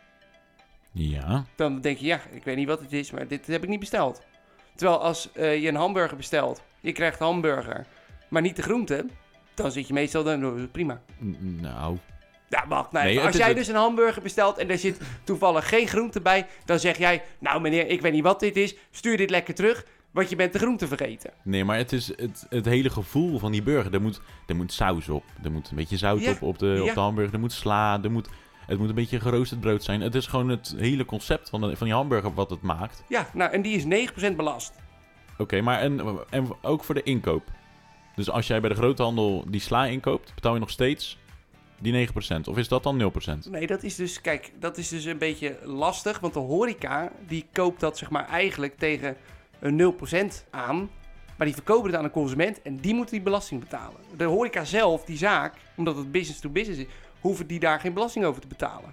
A: Ja,
B: Dan denk je, ja, ik weet niet wat het is, maar dit heb ik niet besteld. Terwijl als eh, je een hamburger bestelt, je krijgt hamburger, maar niet de groente, dan zit je meestal dan oh, prima.
A: N- nou,
B: Ja, wacht. Nou,
A: Nee,
B: even.
A: het
B: als
A: is het-
B: jij dus een hamburger bestelt en er zit toevallig geen groente bij, dan zeg jij, nou meneer, ik weet niet wat dit is, stuur dit lekker terug, want je bent de groente vergeten.
A: nee, maar het is het, het hele gevoel van die burger. Er moet, er moet saus op, er moet een beetje zout
B: Ja,
A: op op de, op
B: ja.
A: de hamburger, er moet sla, er moet, het moet een beetje geroosterd brood zijn. Het is gewoon het hele concept van, de- van die hamburger wat het maakt.
B: Ja, nou, en die is 9% belast.
A: Oké, maar en, en ook voor de inkoop. Dus als jij bij de groothandel die sla inkoopt, betaal je nog steeds die 9%. Of is dat dan 0%?
B: Nee, dat is dus, kijk, dat is dus een beetje lastig, want de horeca, die koopt dat zeg maar eigenlijk tegen een 0% aan. Maar die verkopen het aan de consument en die moeten die belasting betalen. De horeca zelf, die zaak, omdat het business to business is, hoeven die daar geen belasting over te betalen.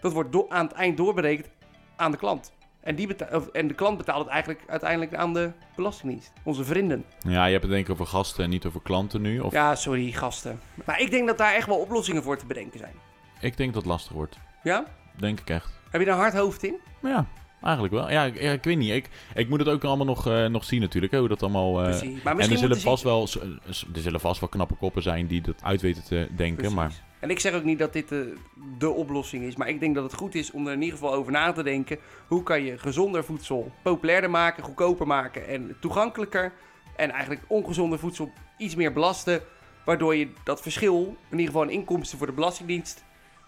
B: Dat wordt do- aan het eind doorberekend aan de klant. En, die beta- of- en de klant betaalt het eigenlijk uiteindelijk aan de belastingdienst. Onze vrienden.
A: Ja, je hebt het denk ik over gasten en niet over klanten nu. Of
B: Ja, sorry, gasten. Maar ik denk dat daar echt wel oplossingen voor te bedenken zijn.
A: Ik denk dat het lastig wordt.
B: Ja?
A: Denk ik echt.
B: Heb je daar een hard hoofd in?
A: Maar ja, eigenlijk wel. Ja, ik, ja, ik weet niet. Ik, ik moet het ook allemaal nog, eh, nog zien natuurlijk, hè, hoe dat allemaal... eh,
B: Precies. Maar
A: en er
B: misschien
A: zullen,
B: moeten
A: vast
B: ze-
A: wel, s- s- er zullen vast wel knappe koppen zijn die dat uit weten te denken.
B: Precies.
A: Maar
B: En ik zeg ook niet dat dit de, de oplossing is, maar ik denk dat het goed is om er in ieder geval over na te denken. Hoe kan je gezonder voedsel populairder maken, goedkoper maken en toegankelijker? En eigenlijk ongezonder voedsel iets meer belasten, waardoor je dat verschil, in ieder geval in inkomsten voor de Belastingdienst,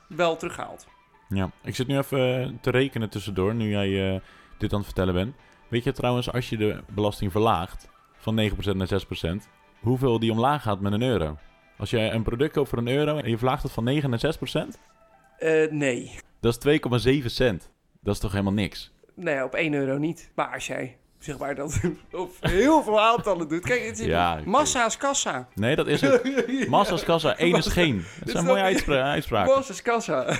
B: wel terughaalt.
A: Ja, ik zit nu even eh, te rekenen tussendoor, nu jij eh, dit aan het vertellen bent. Weet je trouwens, als je de belasting verlaagt van 9% naar 6%, hoeveel die omlaag gaat met een euro? Als je een product koopt voor een euro en je verlaagt het van 9 naar 6%,
B: Eh, nee.
A: dat is 2,7 cent. Dat is toch helemaal niks?
B: Nee, op 1 euro niet. Maar als jij, zeg maar, dat op heel veel aantallen doet. Kijk, het is
A: Ja, ik-
B: massa's kassa.
A: Nee, dat is het. Massa's kassa, één is geen. Dat zijn mooie uitspra- uitspraken.
B: Massa's kassa.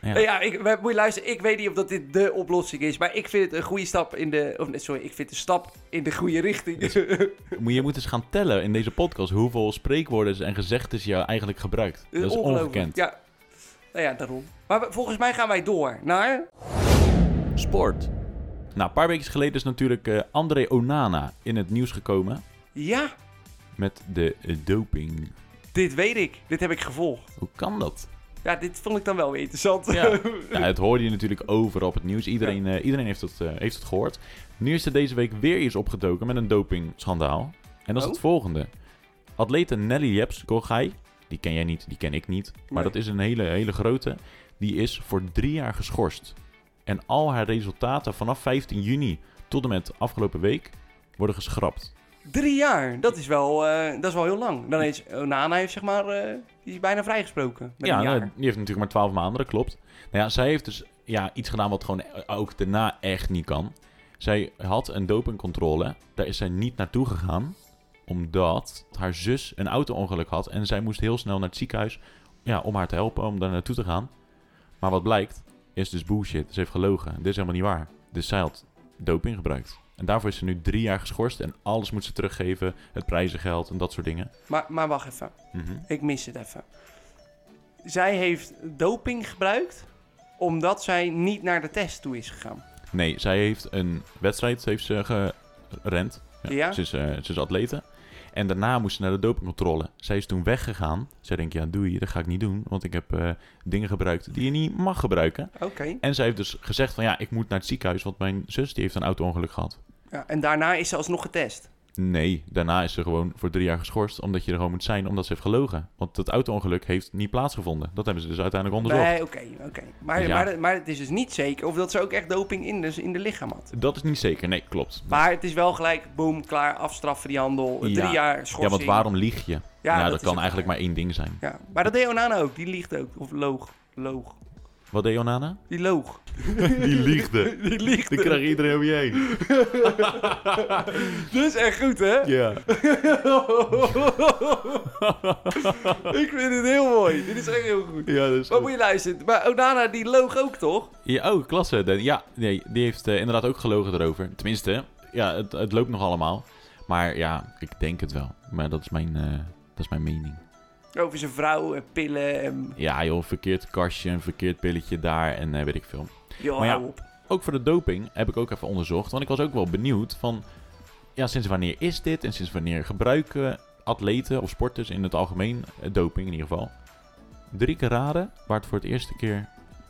A: Ja.
B: Ja, ik, maar moet je luisteren. Ik weet niet of dat dit de oplossing is. Maar ik vind het een goede stap in de... Of nee, sorry, ik vind het een stap in de goede richting.
A: Moet- Je moet eens gaan tellen in deze podcast hoeveel spreekwoorden en gezegdes je eigenlijk gebruikt. Dat is
B: Ongelooflijk.
A: ongekend.
B: Ja. Nou ja, daarom. Maar we- volgens mij gaan wij door naar...
A: Sport. Nou, een paar weken geleden is natuurlijk eh, André Onana in het nieuws gekomen
B: Ja,
A: met de eh, doping.
B: Dit weet ik. Dit heb ik gevolgd.
A: Hoe kan dat?
B: Ja, dit vond ik dan wel weer interessant.
A: Ja. Ja, het hoorde je natuurlijk overal op het nieuws. Iedereen, eh, iedereen heeft, het, eh, heeft het gehoord. Nu is er deze week weer iets opgedoken met een dopingschandaal. En dat is
B: Oh?
A: het volgende. Atlete Nelly Jeps Kogai, die ken jij niet, die ken ik niet. Maar
B: Nee.
A: dat is een hele, hele grote. Die is voor drie jaar geschorst. En al haar resultaten vanaf 15 juni tot en met afgelopen week worden geschrapt.
B: Drie jaar. Dat is wel, eh, dat is wel heel lang. Dan is Onana heeft zeg maar, eh, die is bijna vrijgesproken. Na een
A: ja,
B: jaar.
A: nou, die heeft natuurlijk maar 12 maanden, dat klopt. Nou ja, zij heeft dus ja, iets gedaan wat gewoon eh, ook daarna echt niet kan. Zij had een dopingcontrole. Daar is zij niet naartoe gegaan. Omdat haar zus een auto-ongeluk had. En zij moest heel snel naar het ziekenhuis ja, om haar te helpen om daar naartoe te gaan. Maar wat blijkt, is dus bullshit. Ze heeft gelogen. Dit is helemaal niet waar. Dus zij had doping gebruikt. En daarvoor is ze nu drie jaar geschorst. En alles moet ze teruggeven. Het prijzengeld en dat soort dingen.
B: maar, maar wacht even.
A: Mhm.
B: Ik mis het even. Zij heeft doping gebruikt omdat zij niet naar de test toe is gegaan.
A: Nee, zij heeft een wedstrijd heeft ze gerend.
B: Ja?
A: Ze, is, eh, ze is atlete. En daarna moest ze naar de dopingcontrole. Zij is toen weggegaan. Zij denkt, ja doei, dat ga ik niet doen. Want ik heb eh, dingen gebruikt die je niet mag gebruiken.
B: Oké.
A: En zij heeft dus gezegd van, ja, ik moet naar het ziekenhuis. Want mijn zus die heeft een auto-ongeluk gehad.
B: Ja, en daarna is ze alsnog getest.
A: Nee, daarna is ze gewoon voor drie jaar geschorst. Omdat je er gewoon moet zijn, omdat ze heeft gelogen. Want dat auto-ongeluk heeft niet plaatsgevonden. Dat hebben ze dus uiteindelijk onderzocht.
B: Nee, oké, oké. Maar,
A: Dus ja.
B: maar, maar het is dus niet zeker of dat ze ook echt doping in, dus in de lichaam had.
A: Dat is niet zeker. Nee, klopt.
B: Maar het is wel gelijk, boom, klaar, afstraffen die handel. Drie
A: Ja.
B: jaar
A: Ja,
B: schorsing.
A: want waarom lieg je? Ja, nou,
B: dat
A: dat
B: is
A: kan
B: ook
A: eigenlijk
B: waar.
A: maar één ding zijn.
B: Ja, maar dat deed Onana ook. Die liegt ook. Of loog. Loog.
A: Wat deed Onana?
B: Die loog.
A: Die liegde.
B: Die liegt.
A: Dan krijg iedereen om je heen.
B: Dat is echt goed, hè?
A: Ja.
B: Ik vind het heel mooi. Dit is echt heel goed.
A: Ja, dus.
B: Maar moet je luisteren. Maar Onana, die loog ook, toch?
A: Ja, oh, klasse. Den. Ja, nee, die heeft eh, inderdaad ook gelogen erover. Tenminste, ja, het, het loopt nog allemaal. Maar ja, ik denk het wel. Maar dat is mijn, eh, dat is mijn mening.
B: Over zijn vrouw en pillen en...
A: Ja, joh, verkeerd kastje, een verkeerd pilletje daar en eh, weet ik veel.
B: Joh,
A: Maar ja.
B: hou op.
A: Ook voor de doping heb ik ook even onderzocht. Want ik was ook wel benieuwd van... Ja, sinds wanneer is dit? En sinds wanneer gebruiken atleten of sporters in het algemeen eh, doping in ieder geval? Drie keer raden waar het voor het eerste keer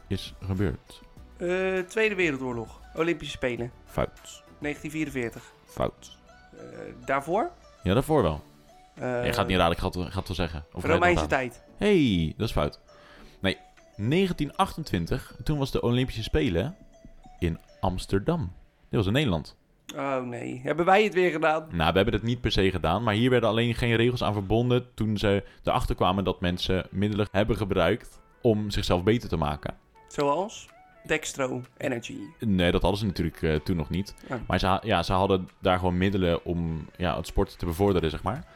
A: is gebeurd.
B: Eh, Tweede Wereldoorlog. Olympische Spelen.
A: Fout.
B: 1944.
A: Fout.
B: Eh, daarvoor?
A: Ja, daarvoor wel.
B: Eh,
A: je gaat niet raden, ik ga het, ik ga het wel zeggen. Of ga je het
B: Romeinse
A: nog
B: tijd.
A: raden? hey, dat is fout. Nee, 1928, toen was de Olympische Spelen in Amsterdam. Dit was in Nederland.
B: Oh nee, hebben wij het weer gedaan?
A: Nou, we hebben dat niet per se gedaan, maar hier werden alleen geen regels aan verbonden toen ze erachter kwamen dat mensen middelen hebben gebruikt om zichzelf beter te maken.
B: Zoals Dextro Energy.
A: Nee, dat hadden ze natuurlijk eh, toen nog niet.
B: Ja.
A: Maar ze, ha- ja, ze hadden daar gewoon middelen om ja, het sport te bevorderen, zeg maar.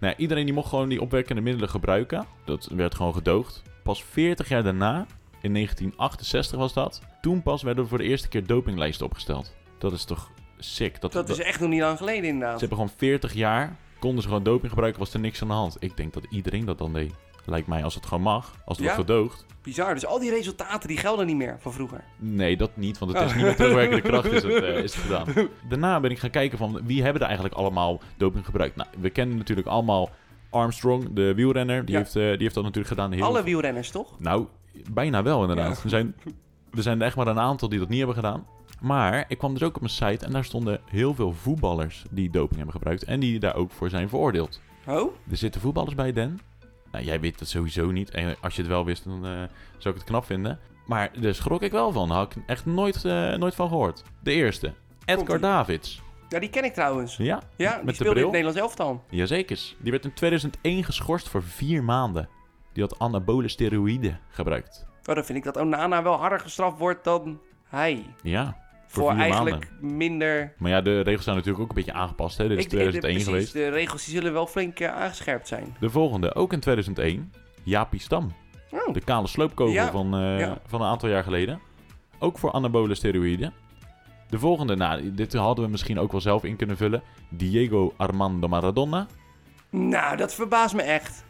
A: Nou, ja, iedereen die mocht gewoon die opwekkende middelen gebruiken. Dat werd gewoon gedoogd. Pas 40 jaar daarna, in 1968 was dat, toen pas werden voor de eerste keer dopinglijsten opgesteld. Dat is toch sick. Dat,
B: Dat is
A: dat-
B: echt nog niet lang geleden inderdaad.
A: Ze hebben gewoon 40 jaar, konden ze gewoon doping gebruiken, was er niks aan de hand. Ik denk dat iedereen dat dan deed. Lijkt mij, als het gewoon mag, als het
B: Ja?
A: wordt gedoogd.
B: Bizar, dus al die resultaten die gelden niet meer van vroeger.
A: Nee, dat niet, want
B: Oh.
A: het is niet met terugwerkende kracht is het, eh, is het gedaan. Daarna ben ik gaan kijken van wie hebben er eigenlijk allemaal doping gebruikt. Nou, we kennen natuurlijk allemaal Armstrong, de wielrenner. Die,
B: Ja.
A: heeft, eh, die heeft dat natuurlijk gedaan. Heel
B: Alle wielrenners toch?
A: Nou, bijna wel inderdaad.
B: Ja.
A: Er, zijn, er zijn er echt maar een aantal die dat niet hebben gedaan. Maar ik kwam dus ook op een site en daar stonden heel veel voetballers die doping hebben gebruikt. En die daar ook voor zijn veroordeeld.
B: Oh?
A: Er zitten voetballers bij, Den. Nou, jij weet dat sowieso niet. En als je het wel wist, dan eh, zou ik het knap vinden. Maar daar schrok ik wel van. Daar had ik echt nooit, eh, nooit van gehoord. De eerste. Edgar
B: Komt-ie.
A: Davids.
B: Ja, die ken ik trouwens.
A: Ja,
B: Ja, die
A: met de
B: speelde in
A: bril.
B: het Nederlands elftal.
A: Jazekers. Die werd in 2001 geschorst voor vier maanden. Die had anabole steroïden gebruikt.
B: Oh, dan vind ik dat Onana wel harder gestraft wordt dan hij.
A: Ja, voor,
B: Voor,
A: vier
B: eigenlijk
A: maanden.
B: minder...
A: Maar ja, de regels zijn natuurlijk ook een beetje aangepast. Hè? Dit is
B: Ik- ik-
A: 2001
B: precies,
A: geweest.
B: de regels die zullen wel flink eh, aangescherpt zijn.
A: De volgende, ook in 2001. Jaapie Stam.
B: Oh.
A: De kale sloopkogel
B: Ja,
A: van, eh,
B: ja.
A: van een aantal jaar geleden. Ook voor anabole steroïden. De volgende, nou, dit hadden we misschien ook wel zelf in kunnen vullen. Diego Armando Maradona.
B: Nou, dat verbaast me echt.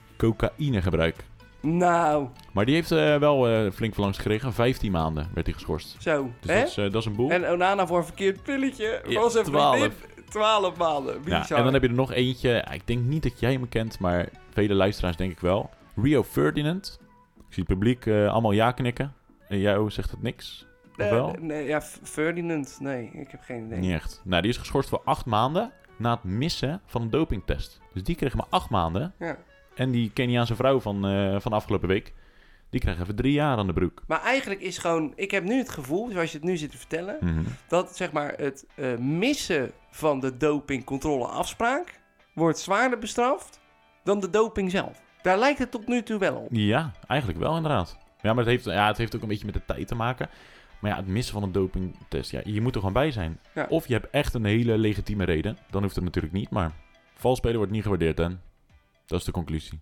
A: Cocaïnegebruik.
B: Nou,
A: Maar die heeft eh, wel eh, flink verlangs gekregen. 15 maanden werd hij geschorst.
B: zo.
A: Dus
B: hè?
A: dat is, eh, dat is een boel.
B: En Onana voor een verkeerd pilletje.
A: Ja,
B: was een
A: 12.
B: vriendin. 12 maanden.
A: Ja,
B: Bizar.
A: en dan heb je er nog eentje. Ik denk niet dat jij hem kent, maar vele luisteraars denk ik wel. Rio Ferdinand. Ik zie het publiek eh, allemaal ja knikken. En jij oh, zegt het niks? Of
B: Eh,
A: wel?
B: nee, ja, F- Ferdinand. Nee, ik heb geen idee.
A: Niet echt. Nou, die is geschorst voor acht maanden na het missen van een dopingtest. Dus die kreeg maar acht maanden.
B: Ja.
A: En die Keniaanse vrouw van, eh, van afgelopen week, die kreeg even drie jaar aan de broek.
B: Maar eigenlijk is gewoon... Ik heb nu het gevoel, zoals je het nu zit te vertellen...
A: Mhm.
B: dat zeg maar, het eh, missen van de dopingcontroleafspraak... wordt zwaarder bestraft dan de doping zelf. Daar lijkt het tot nu toe wel op.
A: Ja, eigenlijk wel inderdaad. Ja, maar het heeft, ja, het heeft ook een beetje met de tijd te maken. Maar ja, het missen van een dopingtest, ja, je moet er gewoon bij zijn.
B: Ja.
A: Of je hebt echt een hele legitieme reden. Dan hoeft het natuurlijk niet, maar vals spelen wordt niet gewaardeerd, hè. Dat is de conclusie.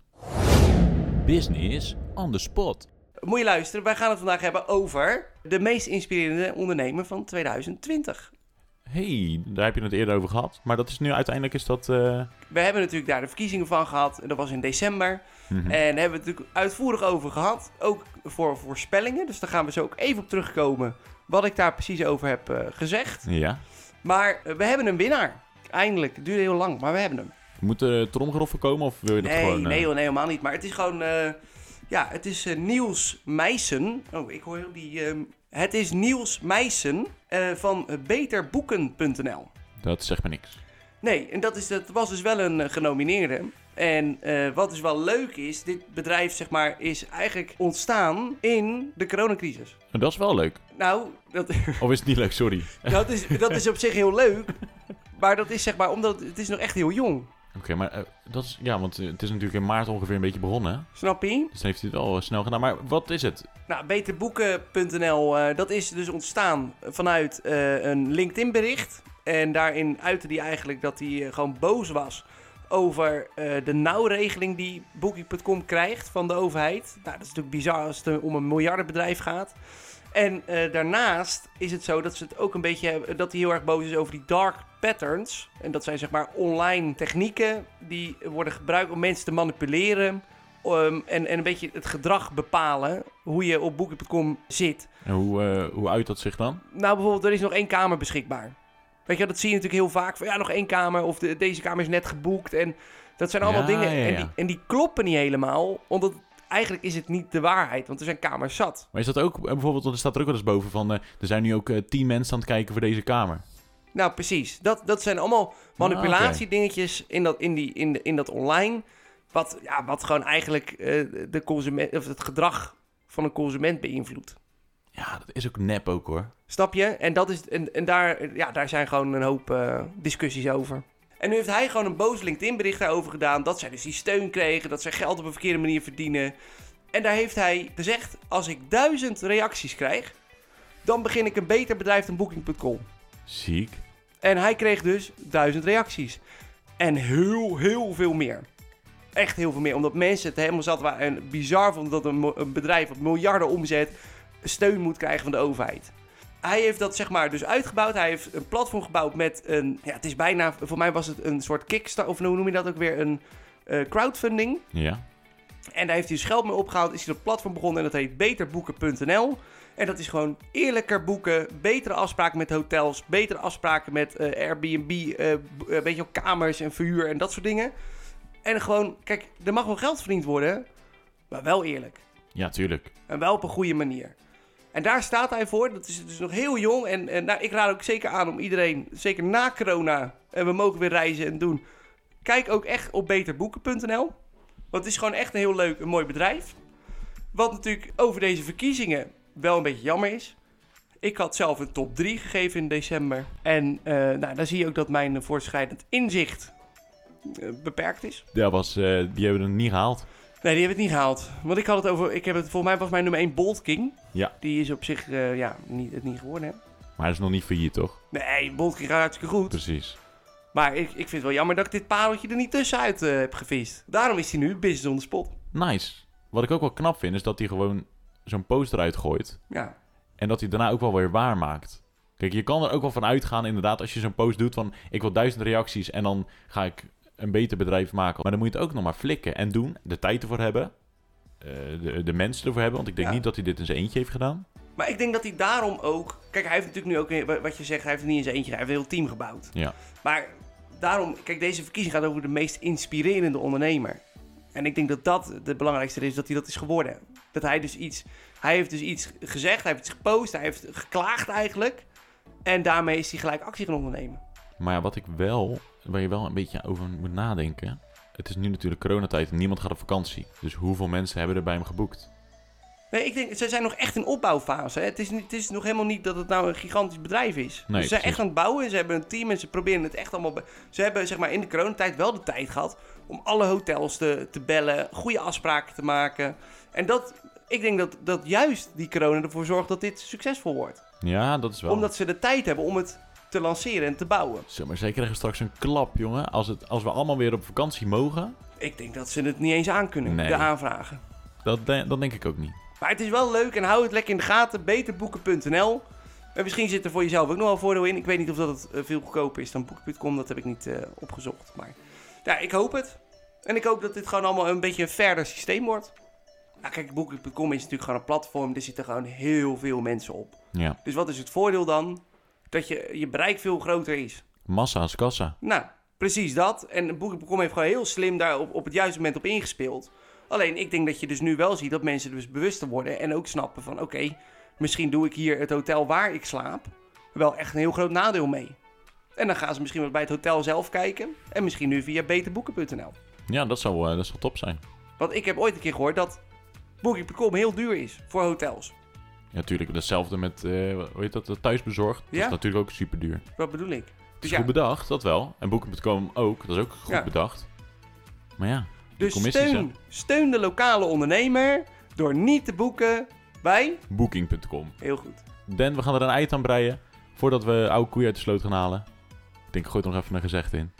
A: Business on the spot.
B: Moet je luisteren, wij gaan het vandaag hebben over... de meest inspirerende ondernemer van 2020.
A: hey, daar heb je het eerder over gehad. Maar dat is nu uiteindelijk is dat... eh,
B: We hebben natuurlijk daar de verkiezingen van gehad. Dat was in december.
A: Mhm.
B: En daar hebben we het natuurlijk uitvoerig over gehad. Ook voor voorspellingen. Dus daar gaan we zo ook even op terugkomen. Wat ik daar precies over heb eh, gezegd.
A: ja.
B: Maar eh, we hebben een winnaar. Eindelijk. Het duurde heel lang, maar we hebben hem.
A: Moet er tromgeroffel komen of wil je dat
B: Nee,
A: gewoon... eh,
B: nee, hoor, nee, helemaal niet. Maar het is gewoon... eh, ja, het is eh, Niels Meijsen. Oh, ik hoor heel die... ehm, het is Niels Meijsen eh, van beterboeken.nl.
A: Dat zegt me niks.
B: Nee, en dat, is, dat was dus wel een eh, genomineerde. En eh, wat dus wel leuk is, dit bedrijf zeg maar, is eigenlijk ontstaan in de coronacrisis.
A: En Dat is wel leuk.
B: Nou, dat,
A: Of is het niet leuk, sorry.
B: dat, is, dat is op zich heel leuk. Maar dat is zeg maar, omdat het is nog echt heel jong.
A: Oké, maar eh, dat is... Ja, want eh, het is natuurlijk in maart ongeveer een beetje begonnen, hè?
B: Snap je?
A: Dus heeft hij het al snel gedaan. Maar wat is het?
B: Nou, beterboeken.nl, eh, dat is dus ontstaan vanuit eh, een LinkedIn bericht. En daarin uitte hij eigenlijk dat hij eh, gewoon boos was over eh, de nauwregeling die Booking.com krijgt van de overheid. Nou, dat is natuurlijk bizar als het eh, om een miljardenbedrijf gaat. En eh, daarnaast is het zo dat ze het ook een beetje hebben, dat hij heel erg boos is over die dark patterns. En dat zijn zeg maar online technieken die worden gebruikt om mensen te manipuleren. Ehm, en, en een beetje het gedrag bepalen hoe je op Booking.com zit.
A: En hoe, eh, hoe uit dat zich dan?
B: Nou, bijvoorbeeld, er is nog één kamer beschikbaar. Weet je, wel, dat zie je natuurlijk heel vaak. Van, ja, nog één kamer of de, deze kamer is net geboekt. En dat zijn allemaal
A: Ja,
B: dingen.
A: ja,
B: En,
A: ja.
B: die, en die kloppen niet helemaal. Omdat eigenlijk is het niet de waarheid. Want er zijn kamers zat.
A: Maar is dat ook eh, bijvoorbeeld, want er staat er ook wel eens boven van, eh, er zijn nu ook eh, tien mensen aan het kijken voor deze kamer.
B: Nou, precies. Dat, dat zijn
A: Ah,
B: allemaal manipulatiedingetjes in, dat, in, die, in, de, in dat online. Wat, ja, wat gewoon eigenlijk eh, de consument, of het gedrag van een consument beïnvloedt.
A: Ja, dat is ook nep ook hoor.
B: Snap je? En, dat is, en, en daar, ja, daar zijn gewoon een hoop eh, discussies over. En nu heeft hij gewoon een boos LinkedIn-bericht daarover gedaan. Dat zij dus die steun kregen. Dat zij geld op een verkeerde manier verdienen. En daar heeft hij gezegd: Als ik duizend reacties krijg, dan begin ik een beter bedrijf dan Booking.com.
A: Ziek.
B: En hij kreeg dus duizend reacties. En heel, heel veel meer. Echt heel veel meer. Omdat mensen het helemaal zat waren en bizar vonden dat een, mo- een bedrijf wat miljarden omzet steun moet krijgen van de overheid. Hij heeft dat zeg maar dus uitgebouwd. Hij heeft een platform gebouwd met een... Ja, het is bijna... Voor mij was het een soort kickstart... Of hoe noem je dat ook weer? Een eh, crowdfunding.
A: Ja.
B: En daar heeft hij dus geld mee opgehaald. Is hij een platform begonnen en dat heet beterboeken.nl. En dat is gewoon eerlijker boeken, betere afspraken met hotels, betere afspraken met eh, Airbnb, eh, b- eh, weet je, wel, kamers en verhuur en dat soort dingen. En gewoon, kijk, er mag wel geld verdiend worden, maar wel eerlijk.
A: Ja, tuurlijk.
B: En wel op een goede manier. En daar staat hij voor. Dat is dus nog heel jong. En, en nou, ik raad ook zeker aan om iedereen, zeker na corona, en we mogen weer reizen en doen. Kijk ook echt op beterboeken.nl. Want het is gewoon echt een heel leuk en mooi bedrijf. Wat natuurlijk over deze verkiezingen wel een beetje jammer is. Ik had zelf een top 3 gegeven in december. En eh nou, dan zie je ook dat mijn voorschrijdend inzicht eh, beperkt is.
A: Dat was, eh, die hebben het niet gehaald.
B: Nee, die hebben het niet gehaald. Want ik had het over. Ik heb het, volgens mij was mijn nummer 1 Bolt King.
A: Ja.
B: Die is op zich eh, ja, niet, het niet geworden. Hè?
A: Maar hij is nog niet failliet, toch?
B: Nee, Bolt King gaat hartstikke goed.
A: Precies.
B: Maar ik, ik vind het wel jammer dat ik dit pareltje er niet tussenuit eh, heb gevist. Daarom is hij nu business on the spot.
A: Nice. Wat ik ook wel knap vind, is dat hij gewoon zo'n post eruit gooit.
B: Ja.
A: En dat hij daarna ook wel weer waar maakt. Kijk, je kan er ook wel van uitgaan, inderdaad, als je zo'n post doet van... ik wil duizend reacties en dan ga ik een beter bedrijf maken. Maar dan moet je het ook nog maar flikken en doen. De tijd ervoor hebben. eh, de, de mensen ervoor hebben. Want ik denk
B: Ja.
A: niet dat hij dit in zijn eentje heeft gedaan.
B: Maar ik denk dat hij daarom ook... Kijk, hij heeft natuurlijk nu ook, eh, wat je zegt, hij heeft het niet in zijn eentje, hij heeft een heel team gebouwd.
A: Ja.
B: Maar daarom, kijk, deze verkiezing gaat over de meest inspirerende ondernemer. En ik denk dat dat de belangrijkste is, dat hij dat is geworden. Dat hij dus iets, hij heeft dus iets gezegd, hij heeft iets gepost, hij heeft geklaagd eigenlijk. En daarmee is hij gelijk actie gaan ondernemen.
A: Maar ja, wat ik wel, waar je wel een beetje over moet nadenken. Het is nu natuurlijk coronatijd en niemand gaat op vakantie. Dus hoeveel mensen hebben er bij hem geboekt?
B: Nee, ik denk, ze zijn nog echt in opbouwfase. Hè. Het, is, niet- het is nog helemaal niet dat het nou een gigantisch bedrijf is.
A: Nee,
B: ze zijn
A: precies.
B: echt aan het bouwen, ze hebben een team en ze proberen het echt allemaal... be- Ze hebben zeg maar in de coronatijd wel de tijd gehad om alle hotels te, te bellen, goede afspraken te maken. En dat, ik denk dat, dat juist die corona ervoor zorgt dat dit succesvol wordt.
A: Ja, dat is wel.
B: Omdat ze de tijd hebben om het te lanceren en te bouwen.
A: Zo, maar zij krijgen straks een klap, jongen. Als, het, als we allemaal weer op vakantie mogen,
B: Ik denk dat ze het niet eens aankunnen,
A: Nee.
B: de aanvragen.
A: dat, de- dat denk ik ook niet.
B: Maar het is wel leuk en hou het lekker in de gaten. Beterboeken.nl. En misschien zit er voor jezelf ook nog wel voordeel in. Ik weet niet of dat het eh, veel goedkoper is dan boeken.com. Dat heb ik niet eh, opgezocht. Maar ja, ik hoop het. En ik hoop dat dit gewoon allemaal een beetje een verder systeem wordt. Nou, kijk, boeken.com is natuurlijk gewoon een platform. Er zitten gewoon heel veel mensen op.
A: Ja.
B: Dus wat is het voordeel dan? Dat je, je bereik veel groter is.
A: Massa is kassa.
B: Nou, precies dat. En Booking.com heeft gewoon heel slim daar op, op het juiste moment op ingespeeld. Alleen, ik denk dat je dus nu wel ziet dat mensen dus bewuster worden en ook snappen van... oké, misschien doe ik hier het hotel waar ik slaap wel echt een heel groot nadeel mee. En dan gaan ze misschien wel bij het hotel zelf kijken en misschien nu via beterboeken.nl.
A: Ja, dat zou, eh, dat zou top zijn.
B: Want ik heb ooit een keer gehoord dat Booking.com heel duur is voor hotels.
A: Ja, natuurlijk. Hetzelfde met, eh hoe heet dat, dat thuisbezorgd. Dat
B: Ja. Dus
A: is natuurlijk ook super duur.
B: Wat bedoel ik? dus
A: is goed bedacht, dat wel. En Booking.com ook, dat is ook goed
B: Ja.
A: bedacht. Maar ja, die
B: dus
A: commissies, hè.
B: steun, steun de lokale ondernemer door niet te boeken bij...
A: Booking.com.
B: Heel goed.
A: Dan, we gaan er een eind aan breien. Voordat we oude koeien uit de sloot gaan halen. Ik denk, ik gooi er nog even een gezegd in.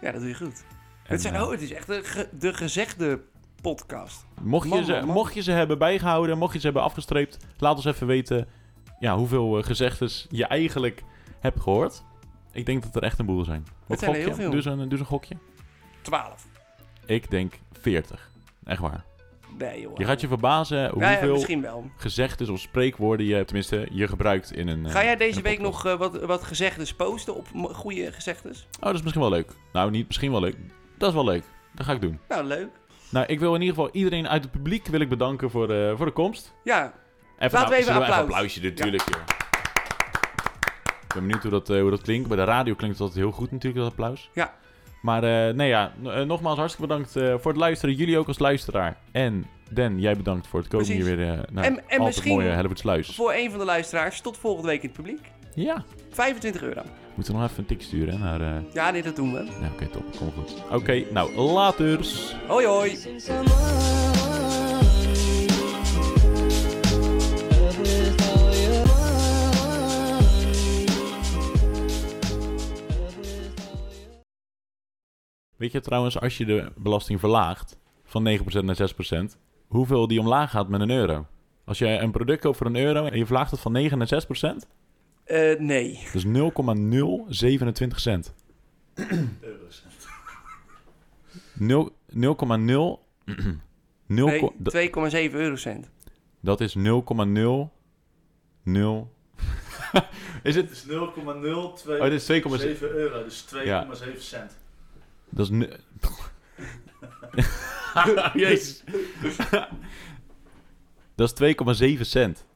B: Ja, dat doe je goed.
A: En,
B: Het, zijn,
A: eh,
B: oh, het is echt de, ge- de gezegde podcast.
A: mocht, je
B: man,
A: ze,
B: man, man.
A: mocht je ze hebben bijgehouden, mocht je ze hebben afgestreept, laat ons even weten ja, hoeveel eh, gezegdes je eigenlijk hebt gehoord. Ik denk dat er echt een Dus boel zijn. Wat
B: zijn er
A: gok je?
B: heel veel.
A: Doe zo'n doe zo'n gokje.
B: 12.
A: Ik denk 40. Echt waar.
B: Nee, joh.
A: Je gaat je verbazen
B: Nou ja,
A: hoeveel
B: misschien wel.
A: gezegdes of spreekwoorden je, tenminste, je gebruikt in een. eh,
B: Ga jij
A: in
B: deze
A: een
B: week
A: podcast.
B: nog eh, wat, wat gezegdes posten op mo- goede gezegdes?
A: Oh, dat is misschien wel leuk. Nou, niet misschien wel leuk. Dat is wel leuk. Dat ga ik doen.
B: Nou, leuk.
A: Nou, ik wil in ieder geval iedereen uit het publiek wil ik bedanken voor, eh, voor de komst.
B: Ja,
A: Even, nou,
B: Laten we even
A: zullen
B: applaus.
A: een applausje doen, natuurlijk. joh. Ik ben benieuwd hoe dat, eh, hoe dat klinkt. Bij de radio klinkt dat heel goed natuurlijk, dat applaus.
B: Ja.
A: Maar eh, nee ja, n- eh, nogmaals hartstikke bedankt eh, voor het luisteren. Jullie ook als luisteraar. En Dan, jij bedankt voor het komen
B: Precies.
A: hier weer eh, naar
B: En- en
A: altijd
B: misschien-
A: mooie Hellevoetsluis.
B: voor een van de luisteraars, tot volgende week in het publiek.
A: Ja,
B: 25 euro.
A: we moeten nog even een tik sturen hè, naar... eh,
B: Ja, nee, dat doen we.
A: Nou, oké, top. Kom goed. Oké, nou, laters.
B: Hoi, hoi.
E: Since I'm alive, love is all you want. Love is all you
A: Weet je trouwens, als je de belasting verlaagt van 9% naar 6%, hoeveel die omlaag gaat met een euro? Als je een product koopt voor een euro en je verlaagt het van 9 naar dus 6%,
B: Eh, nee.
A: dat is 0,027 cent. Nul- 0,0... nul
B: nee
A: ko- dat-
B: 2,7 eurocent.
A: Dat is 0,00... is het...
F: Het is 0,02
A: Oh, dit is 2,7.
F: 7 euro, dus 2,7 cent.
A: Dat is... nu- Jezus. dat is 2,7 cent.